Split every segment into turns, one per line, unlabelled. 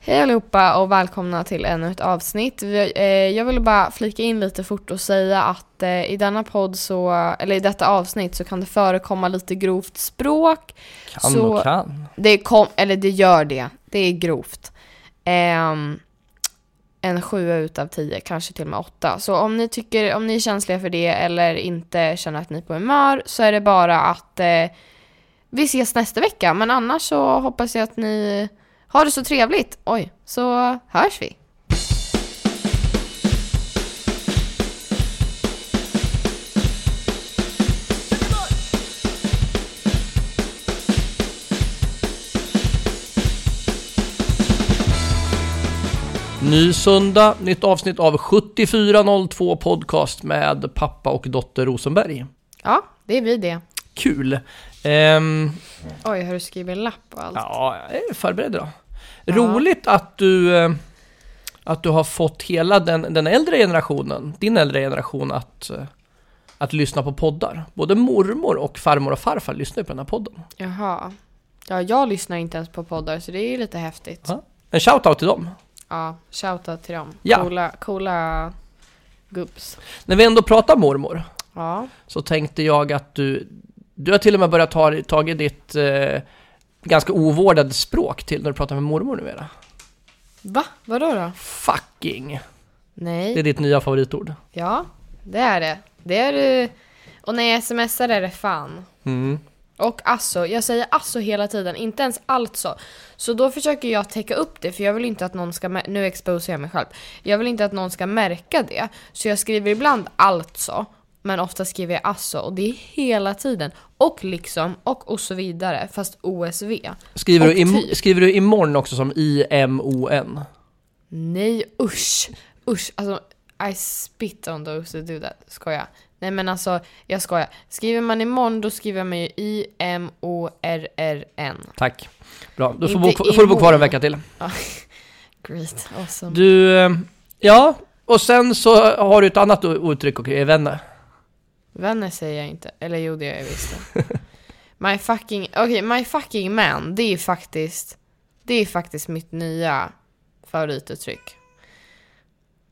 Hej allihopa och välkomna till ännu ett avsnitt. Vi, eh, jag ville bara flika in lite fort och säga att eh, i denna podd så, eller i detta avsnitt så kan det förekomma lite grovt språk.
Kan
Så-
och kan.
Det kom, eller det gör det. Det är grovt. Ehm, en sjua utav tio, kanske till och med åtta. Så om ni tycker, om ni är känsliga för det eller inte känner att ni är på humör så är det bara att eh, vi ses nästa vecka. Men annars så hoppas jag att ni har det så trevligt. Oj, så hörs vi.
Ny söndag, nytt avsnitt av 7402 podcast med pappa och dotter Rosenberg.
Ja, det blir det.
Kul! Ehm,
Oj, har du skrivit en lapp och allt?
ja, jag är förberedd då. Roligt att du, eh, att du har fått hela den, den äldre generationen, din äldre generation, att, eh, att lyssna på poddar. Både mormor och farmor och farfar lyssnar ju på den här podden.
Jaha. Ja, jag lyssnar inte ens på poddar så det är ju lite häftigt.
Ja. En shoutout till dem.
Ja, shoutout till dem.
Ja.
Coola, coola gubbs.
När vi ändå pratar mormor,
Ja.
så tänkte jag att du, du har till och med börjat ta tag i ditt eh, ganska ovårdade språk till när du pratar med mormor numera.
Va? Vadå då?
Fucking, det är
Nej.
ditt nya favoritord.
Ja, det är det. Det är det. Och när jag smsar är det fan.
Mm.
Och alltså, jag säger alltså hela tiden, inte ens alltså. Så då försöker jag täcka upp det för jag vill inte att någon ska, mä- nu exposerar jag mig själv. Jag vill inte att någon ska märka det. Så jag skriver ibland alltså, men ofta skriver jag alltså och det är hela tiden. Och liksom, och och så vidare, fast OSV.
Skriver,
Och
du im-
typ.
skriver du imorgon också som I-M-O-N?
Nej usch! Usch, alltså I spit on those who do that. Skoja. Nej men alltså, jag skojar. Skriver man imorgon då skriver man ju I-M-O-R-R-N.
Tack. Bra, då får,
Inte
bo, får du bo kvar
imorgon.
en vecka till.
Great, awesome.
Du, eh, ja, och sen så har du ett annat o- uttryck och är vänner.
Vänner säger jag inte. Eller jo, det gör jag visst. det. my fucking... Okej, my fucking man. Det är faktiskt... Det är faktiskt mitt nya favorituttryck.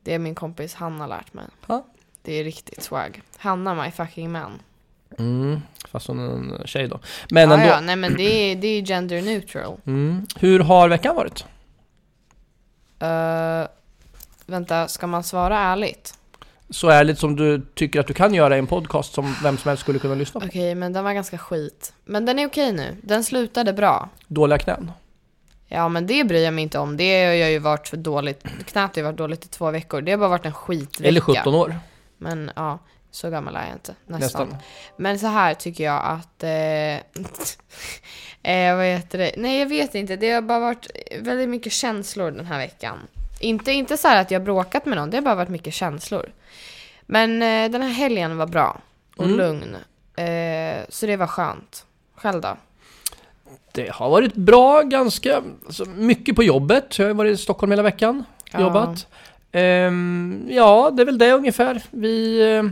Det är min kompis Hanna lärt mig.
Ja.
Det är riktigt swag. Hanna, my fucking man.
Mm, fast hon är en tjej då. Men
ja,
ändå.
ja, nej men det är, det är gender neutral.
Mm. Hur har veckan varit?
Eh, vänta, ska man svara ärligt?
så ärligt som du tycker att du kan göra i en podcast som vem som helst skulle kunna lyssna på.
Okej, men den var ganska skit. Men den är okej nu. Den slutade bra.
Dåliga knän.
Ja men det bryr jag mig inte om. Det har jag ju varit för dåligt, knappt har jag varit dåligt i två veckor. Det har bara varit en skitvecka.
Eller 17 år,
Men ja, så gammal är jag inte. Nästan.
nästan.
Men så här tycker jag att... Eh, eh, vad heter det? Nej jag vet inte. Det har bara varit väldigt mycket känslor den här veckan. Inte, inte så här att jag bråkat med någon, det har bara varit mycket känslor. Men eh, den här helgen var bra och
Mm.
lugn. Eh, så det var skönt. Själv då?
Det har varit bra, ganska alltså, mycket på jobbet. Jag har ju varit i Stockholm hela veckan,
Ja.
jobbat. Ehm, ja, det är väl det ungefär. Vi... eh,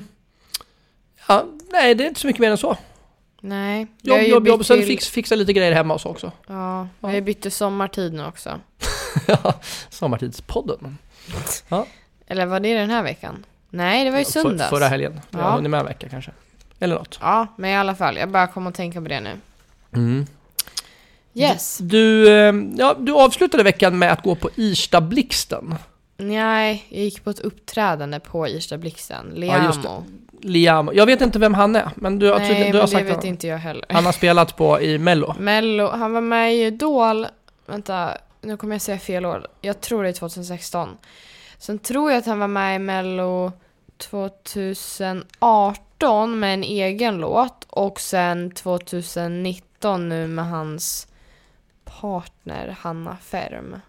Ja, nej, det är inte så mycket mer än så.
Nej. vi har
Jobb,
ju
jobb,
bytt
jobb. Sen
till-
fix, fixa lite grejer hemma och så också.
Ja,
Ja.
vi bytte sommartid nu också.
Sommartidspodden.
Eller var det den här veckan? Nej, det var ju
Ja, för,
söndags.
förra helgen. Jag
Ja.
har hunnit med en vecka kanske. Eller något.
Ja, men i alla fall. Jag bara kom att tänka på det nu. Yes.
Du, eh, ja, du avslutade veckan med att gå på Irsta Blixten.
Nej, jag gick på ett uppträdande på Irsta Blixten. Liamo.
Ja, just det. Liam, jag vet inte vem han är, men du har
Nej,
tydligen du har
men det
sagt
vet
att
inte jag heller.
han har spelat på i Mello.
Mello, han var med i Idol. Vänta, nu kommer jag säga fel år. Jag tror det är 2016. Sen tror jag att han var med i Mello 2018 med en egen låt och sen 2019 nu med hans partner Hanna Ferm.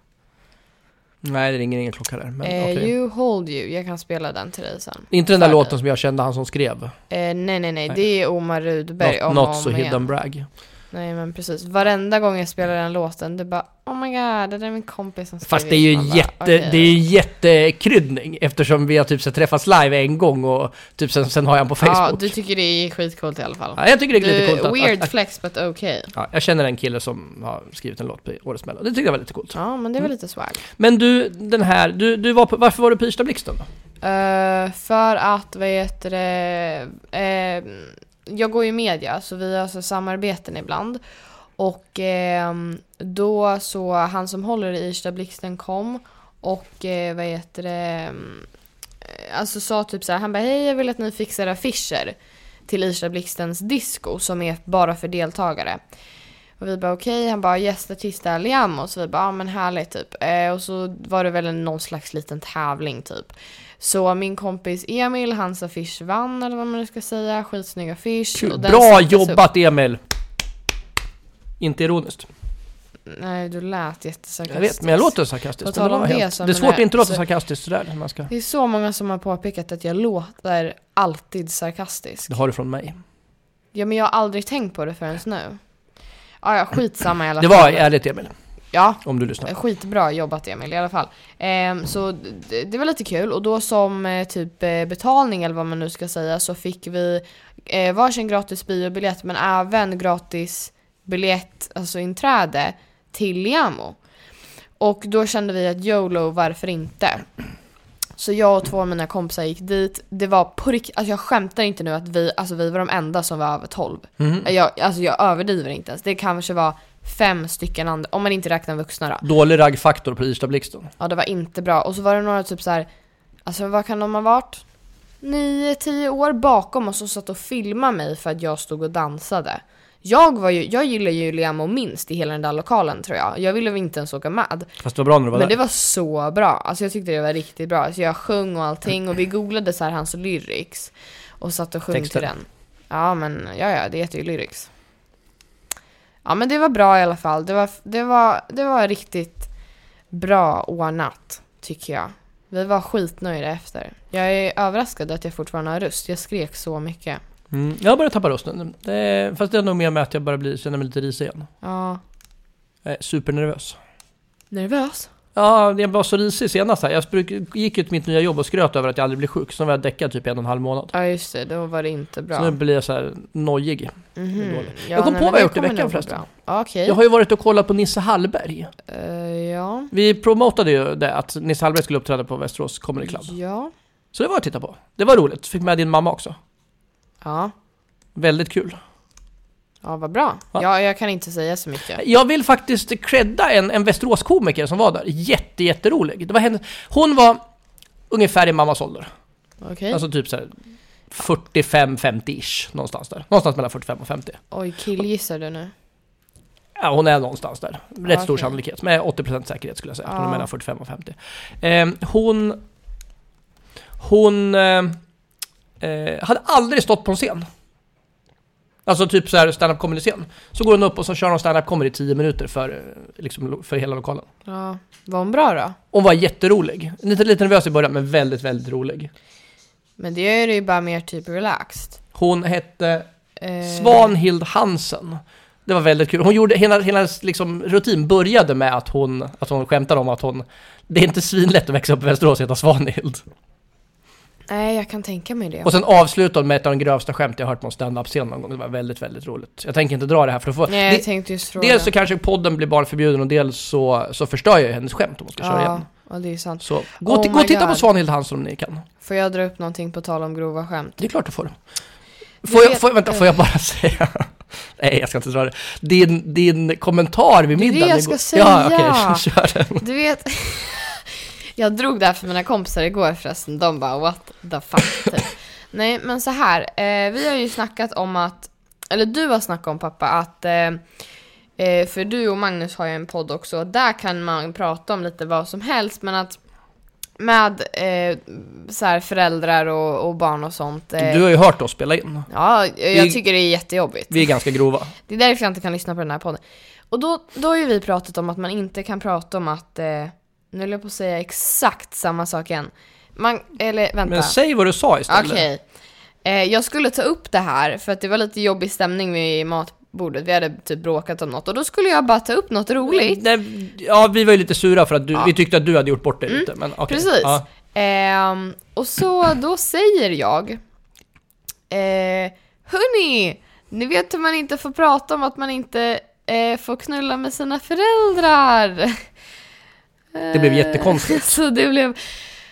Nej, det ringer ingen klocka där. Men,
eh,
okej.
You hold you, jag kan spela den till dig sen.
Inte den där
för-
låten som jag kände han som skrev.
Eh, nej, nej, nej,
Nej.
det är Omar Rudberg
Not,
om
not
och
so
om igen.
hidden brag.
Nej men precis. Varenda gång jag spelar den låten, det är bara oh my god, det där är min kompis som
Fast
skrivit."
det är ju en
Man bara,
jätte,
"Okej."
det är ju en jättekryddning eftersom vi har typ så här träffats live en gång och typ sen, sen har jag på Facebook.
Ja, du tycker det är skitcoolt i alla fall.
Ja, jag tycker det är lite
Du,
coolt att,
weird
att, att
flex but okay.
ja, Jag känner en kille som har skrivit en låt på Årets Mello. Det tycker jag var lite coolt.
Ja, men det var lite swag.
Men du, den här, du, du var på, varför var du på Irstablixten då?
Eh, för att, vad heter det, eh, jag går ju i media så vi har alltså samarbeten ibland. Och ehm, då så, han som håller i Irsta Blixten kom och eh, vad heter det, mm, alltså sa typ så här, han bara hej jag vill att ni fixar affischer till Irsta Blixtens disco som är bara för deltagare. Och vi bara okej, han bara gästartist är Liam och så vi bara ja men härligt typ. Eh, och så var det väl en- någon slags liten tävling typ. Så min kompis Emil, hans affisch vann eller vad man nu ska säga, skitsnygg affisch.
Kul.
och den
Bra
sattes upp.
jobbat Emil! Inte ironiskt.
Nej, du lät
Jag
jättesarkastisk.
vet, men jag låter
På
sarkastisk.
tal
men var
om det
helt-
så,
det är
men
svårt att
det-
inte låta
så-
sarkastisk sådär. när Man ska...
Det är så många som har påpekat att jag låter alltid sarkastisk.
Det har du från mig.
Ja, men jag har aldrig tänkt på det förrän nu. Ja, ja, skitsamma i alla
Det
fall.
var ärligt Emil,
Ja,
om du lyssnar.
Skitbra jobbat Emil i alla fall. Ehm, så d- d- det var lite kul och då som eh, typ eh, betalning eller vad man nu ska säga så fick vi eh, varsin gratis biobiljett men även gratis biljett, alltså inträde till Liamo. Och då kände vi att YOLO, varför inte? Så jag och två av mina kompisar gick dit. Det var på riktigt, alltså jag skämtar inte nu att vi, alltså vi var de enda som var över 12.
Mhm.
Jag, alltså jag överdriver inte ens. Det kanske var fem stycken andra, om man inte räknar vuxna då.
Dålig raggfaktor på Irstablixten.
Ja det var inte bra. Och så var det några typ så här, alltså vad kan de ha varit? Nio, tio år bakom oss och satt och filmade mig för att jag stod och dansade. Jag var ju, jag gillar ju Liamo minst i hela den där lokalen tror jag. Jag ville väl inte ens åka med.
Fast det var bra när du var
Men
där.
det var så bra. Alltså jag tyckte det var riktigt bra. Så jag sjöng och allting och vi googlade så här hans lyrics. Och satt och sjöng
Texter.
till den. Ja men ja, ja, det heter ju lyrics. Ja men det var bra i alla fall. Det var, det var, det var riktigt bra ordnat tycker jag. Vi var skitnöjda efter. Jag är överraskad att jag fortfarande har röst. Jag skrek så mycket.
Mm, jag börjar tappa rösten. Det är, fast det är nog mer med att jag börjar bli, känna mig lite risig igen.
Ja,
Jag är supernervös.
nervös.
Ja, jag var så risig senast här. Jag bruk, gick ut mitt nya jobb och skröt över att jag aldrig blir sjuk. Sen var jag däckad typ en och en halv månad.
Ja just det, då var det inte bra.
Så nu blir jag så här nojig.
Mhm.
är dåligt.
Ja,
Jag kom
nej,
på
men
vad jag gjort i
kommer
veckan
nog gå
förresten.
bra. Ja, Okej.
Jag har ju varit och kollat på Nisse Hallberg.
Eh, ja.
Vi promotade ju det, att Nisse Hallberg skulle uppträda på Västerås Comedy Club.
Ja.
Så det var att titta på. Det var roligt. Fick med din mamma också.
Ja.
Väldigt kul.
Ja, vad bra.
Va?
Ja, jag kan inte säga så mycket.
Jag vill faktiskt credda en, en Västerås-komiker som var där. Jätte, jätterolig. Det var henne. Hon var ungefär i mammas ålder.
Okej.
Alltså typ såhär 45-50-ish. Någonstans där. Någonstans mellan 45 och 50.
Oj, killgissar du nu?
Ja, hon är någonstans där. Rätt
Ja,
stor
okej.
sannolikhet. Med 80% säkerhet skulle jag säga. att Hon är
Ja.
mellan 45 och 50. Eh, hon... Hon... Eh, eh, hade aldrig stått på en scen. Alltså typ så här stand-up comedy-scen. Så går hon upp och så kör hon stand-up comedy i 10 minuter för, eh, liksom, lo- för hela lokalen.
Ja. Var hon bra då?
Hon var jätterolig. Lite, lite nervös i början, men väldigt, väldigt rolig.
Men det är ju bara mer typ relaxed.
Hon hette
Eh,
Svanhild Hansen. Det var väldigt kul. Hon gjorde, hela hennes liksom, rutin började med att hon, att hon skämtade om att hon... Det är inte svinlätt att växa upp i Västerås och heta Svanhild.
Nej, jag kan tänka mig det.
Och sen avslutade hon med ett av de grövsta skämt jag hört på en standup-scen någon gång. Det var väldigt, väldigt roligt. Jag tänker inte dra det här för att få...
Nej, jag
det,
tänkte just fråga.
dels så kanske podden blir barnförbjuden och dels så, så förstör jag ju hennes skämt om hon ska köra igen.
ja, ja, det är sant.
Så gå,
Oh
till, gå och
my
titta
God.
på Svanhild Hansen om ni kan.
Får jag dra upp någonting på tal om grova skämt?
Det är klart du får.
Du
Får jag,
vet-
får, vänta, får jag bara säga? Nej, jag ska inte dra det. Din, din kommentar vid
Det är det
middagen
jag
igår-
ska
Ja,
säga.
okej, kör den.
Du vet, jag drog det här för mina kompisar igår förresten. De bara what the fuck. Typ. Nej men så här, eh, vi har ju snackat om att, eller du har snackat om pappa att, eh, eh, för du och Magnus har ju en podd också, där kan man prata om lite vad som helst men att med eh, så här föräldrar och, och barn och sånt. Eh,
Du har ju hört oss spela in.
Ja, jag
Vi-
tycker det är jättejobbigt.
Vi är ganska grova.
Det är därför jag inte kan lyssna på den här podden. Och då, då har ju vi pratat om att man inte kan prata om att, eh, nu höll jag på att säga exakt samma sak igen. Man, eller vänta.
Men säg vad du sa istället.
Okej. Eh, jag skulle ta upp det här för att det var lite jobbig stämning vid mat, bordet. Vi hade typ bråkat om något och då skulle jag bara ta upp något roligt.
Nej, ja, vi var ju lite sura för att du,
Ja. Mm,
vi tyckte att du hade gjort bort dig lite. Men okej.
Precis.
Ja.
Ehm, och så då säger jag eh, Hörni, ni vet hur man inte får prata om att man inte eh, får knulla med sina föräldrar. Eh,
Det blev jättekonstigt.
så det blev...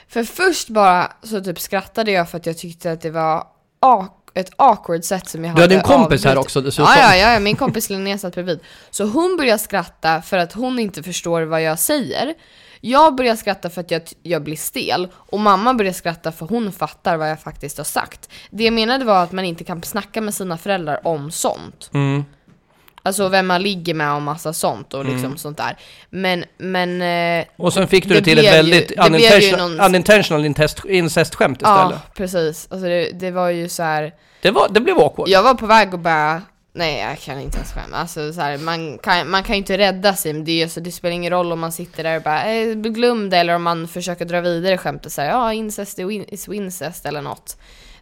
För först bara så typ skrattade jag för att jag tyckte att det var ak- ett awkward sätt som jag
Du
hade
hade en kompis här
avbrutit-
också dessutom.
Ja, ja, ja, ja, min kompis Linnea satt bredvid. Så hon börjar skratta för att hon inte förstår vad jag säger. Jag börjar skratta för att jag, jag blir stel och mamma börjar skratta för hon fattar vad jag faktiskt har sagt. Det jag menade var att man inte kan snacka med sina föräldrar om sånt.
Mm.
Alltså vem man ligger med och massa sånt och
Mm.
liksom sånt där. Men, men... eh,
Och sen fick du
Det
det till ett
blev ju-
väldigt
det blev ju
unintentional,
någon-
unintentional incest, incest-skämt
Ja,
istället.
precis. Alltså det, det var ju så här.
Det, var, det blev awkward.
Jag var på väg att bara, nej jag kan inte ens skämma. Alltså, så här, man, kan, man kan ju inte rädda sig, men det, är ju så det spelar ingen roll om man sitter där och bara eh, glöm det eller om man försöker dra vidare skämtet så här, ja incest är win- is incest eller något.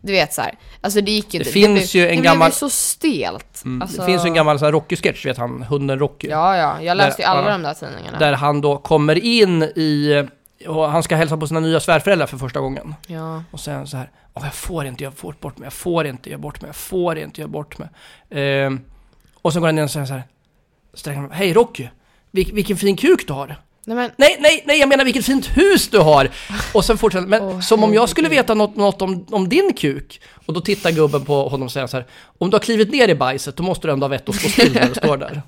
Du vet så här. alltså det gick ju
Det
inte.
finns ju en
det blev
gammal- Mm,
ju så stelt. Alltså,
Det finns ju en gammal sån här Rocky-sketch, vet han, hunden Rocky.
Ja, ja, jag läste ju
Där,
alla
ja.
de där tidningarna.
Där han då kommer in i... Och han ska hälsa på sina nya svärföräldrar för första gången.
Ja.
Och sen så här, "Åh, jag får inte göra bort, bort mig, jag får inte göra bort mig, jag får inte göra bort mig. Ehm, och sen går han in och säger så här, sträcker han fram, hej Rocky, vil, vilken fin kuk du har.
Nej men,
Nej, nej, nej, jag menar vilket fint hus du har! Och sen fortsätter men
Åh,
som om jag
herregud.
skulle veta något, något om, om din kuk. Och då tittar gubben på honom och säger så här, om du har klivit ner i bajset, då måste du ändå ha vett att stå still när du står där.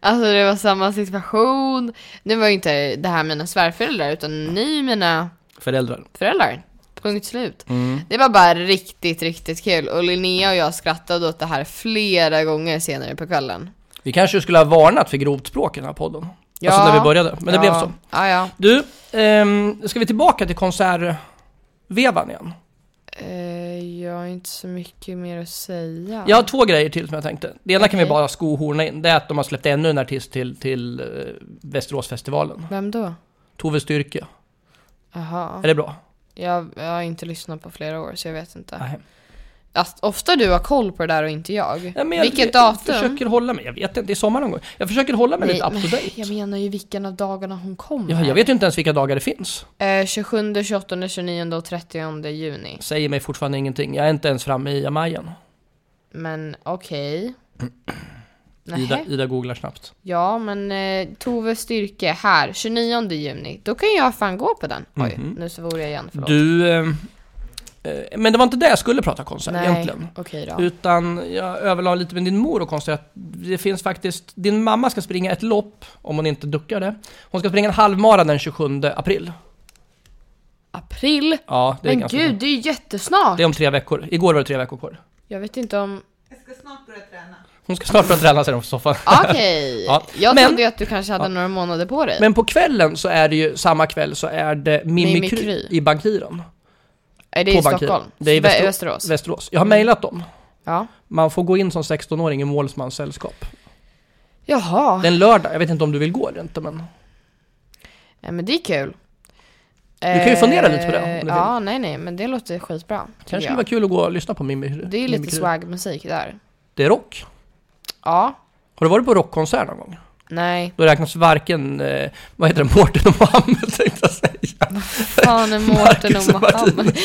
alltså det var samma situation. Nu var ju inte det här mina svärföräldrar, utan ni är mina
Föräldrar.
föräldrar. Punkt slut.
Mm.
Det var bara riktigt, riktigt kul. Och Linnea och jag skrattade åt det här flera gånger senare på kvällen.
Vi kanske skulle ha varnat för grovt språk i den här podden.
Ja.
Alltså när vi började, men det
ja.
blev så.
Ja, ja.
Du, ehm, ska vi tillbaka till konsertvevan igen?
Eh, jag har inte så mycket mer att säga.
Jag har två grejer till som jag tänkte. Det ena kan vi
Okej.
bara skohorna in. Det är att de har släppt ännu en artist till, till eh, Västeråsfestivalen.
Vem då?
Tove Styrke.
Jaha.
Är det bra?
Jag, jag har inte lyssnat på flera år så jag vet inte.
Nej.
Alltså, ofta du har koll på det där och inte jag.
Nej, men jag-
Vilket
jag
datum?
försöker hålla mig, jag vet inte, det är sommar någon gång. Jag försöker hålla mig
Nej,
lite up to
men
date.
Jag menar ju vilken av dagarna hon kommer.
Ja, jag vet ju inte ens vilka dagar det finns.
Eh, 27, 28, 29 och 30 juni.
Säger mig fortfarande ingenting. Jag är inte ens framme i Amajen.
Men okej. Okay.
Ida, Ida googlar snabbt.
Ja, men eh, Tove Styrke här, 29 juni. Då kan jag fan gå på den. Oj, nu så vore jag igen, förlåt.
Mhm. Du... Eh, eh, men det var inte det jag skulle prata konsert
Nej,
egentligen.
okej då.
Utan jag överlade lite med din mor och konstaterade att det finns faktiskt, din mamma ska springa ett lopp, om hon inte duckar det. Hon ska springa en halvmara den 27 april.
April?
Ja, det är
Men
ganska
gud, det är ju jättesnart!
Det är om tre veckor. Igår var det tre veckor kvar.
Jag vet inte om...
Jag ska snart börja träna.
Hon ska snart börja träna sig på soffan.
Okej!
Ja,
Jag
men-
trodde ju att du kanske hade några månader på dig.
Men på kvällen så är det ju, samma kväll så är det Mimikry
Mimikry.
i Bankiren.
är det
på
i
Bankiren.
Stockholm?
Det är i
Vä-
Västerå-
Västerås?
Västerås. Jag har mejlat dem.
Ja.
Man får gå in som 16-åring i målsmans sällskap.
Jaha,
Det är en lördag, jag vet inte om du vill gå eller inte men...
ja, men det är kul. Eh,
Du kan ju fundera lite på det, om du vill.
Ja, nej, nej, men det låter skitbra. tycker
Kanske
jag.
skulle vara kul att gå och lyssna på Mimikry.
Det är ju lite
Mimikry.
swagmusik där.
Det är rock.
Ja,
Har du varit på rockkonsert någon gång?
nej.
Då räknas varken, eh, vad heter det, Mårten och Mohammed tänkte jag säga.
Fan är Mårten
Marcus
och
och
Mohammed.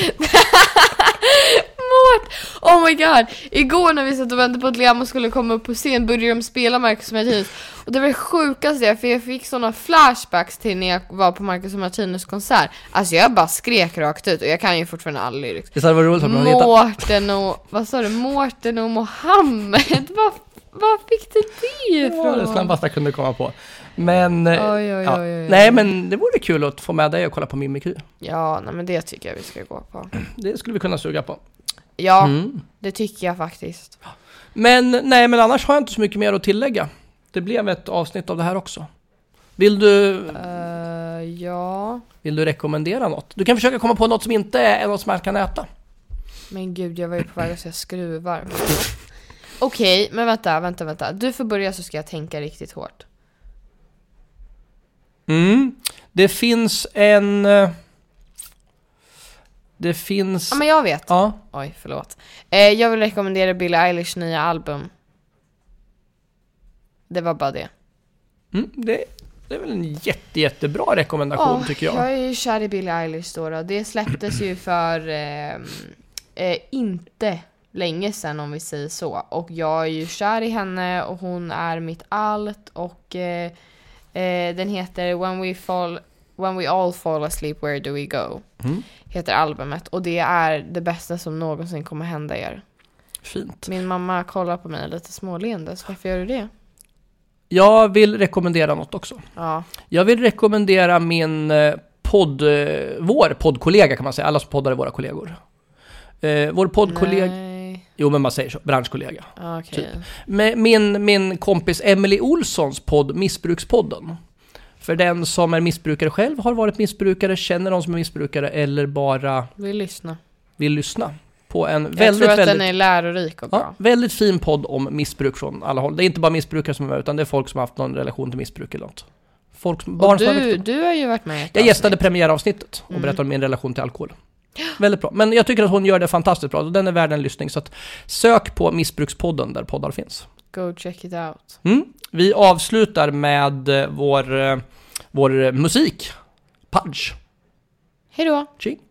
Mårt! Oh my god! Igår när vi satt och väntade på att Liam skulle komma upp på scen började de spela Marcus och Martinus. Och det var det sjukaste, för jag fick såna flashbacks till när jag var på Marcus och Martinus konsert. Alltså jag bara skrek rakt ut och jag kan ju fortfarande all lyrics.
Visst hade det varit roligt att prata om
Mårten och, vad sa du, Mårten och Mohammed? Vad, vad fick du det
det var det
ifrån?
snabbaste jag kunde komma på. Men... eh,
Oj, oj,
ja.
oj, oj, oj.
Nej men det vore kul att få med dig och kolla på Mimikry.
Ja, nej men det tycker jag vi ska gå på.
Det skulle vi kunna suga på.
Ja,
Mm.
det tycker jag faktiskt.
Men nej, men annars har jag inte så mycket mer att tillägga. Det blev ett avsnitt av det här också. Vill du,
Eh, ja,
vill du rekommendera något? Du kan försöka komma på något som inte är något som man kan äta.
men gud jag var ju på väg att säga skruvar. Okej, men vänta, vänta, vänta. Du får börja så ska jag tänka riktigt hårt.
Mm. Det finns en... eh, det finns...
Ja, men jag vet.
Ja,
Oj, förlåt. Eh, jag vill rekommendera Billie Eilish nya album. Det var bara det.
mm, det, det är väl en jätte, jättebra rekommendation
Åh,
tycker jag.
Jag är ju kär i Billie Eilish då. då. Det släpptes ju för ehm, eh, inte länge sedan om vi säger så. Och jag är ju kär i henne och hon är mitt allt. Och eh, eh, den heter When we, fall, When we all fall asleep, where do we go?
Mm.
Heter albumet. Och det är det bästa som någonsin kommer hända er.
Fint.
Min mamma kollar på mig lite småleende, så varför gör du det?
Jag vill rekommendera något också.
Ja,
Jag vill rekommendera min eh, podd, eh, vår poddkollega kan man säga. Alla som poddar är våra kollegor. Eh, vår poddkollega,
nej.
jo men man säger så, branschkollega.
Okej.
Typ. Med min, min kompis Emily Olssons podd Missbrukspodden. För den som är missbrukare själv, har varit missbrukare, känner någon som är missbrukare eller bara
Vi lyssnar.
vill lyssna på en väldigt,
jag tror att
väldigt,
den är lärorik och bra.
ja, väldigt fin podd om missbruk från alla håll. Det är inte bara missbrukare som är med, utan det är folk som har haft någon relation till missbruk eller något. Folk, som- barn
Och
som har växt
du,
upp.
du har ju varit med i ett
Jag gästade
avsnitt.
premiäravsnittet och
Mm.
berättade om min relation till alkohol. Väldigt bra. Men jag tycker att hon gör det fantastiskt bra. Den är värd en lyssning. Så att sök på Missbrukspodden där poddar finns.
Go check it out.
Mm. Vi avslutar med eh, vår, eh, vår eh, musik. Pudge.
Hejdå!
Tjing.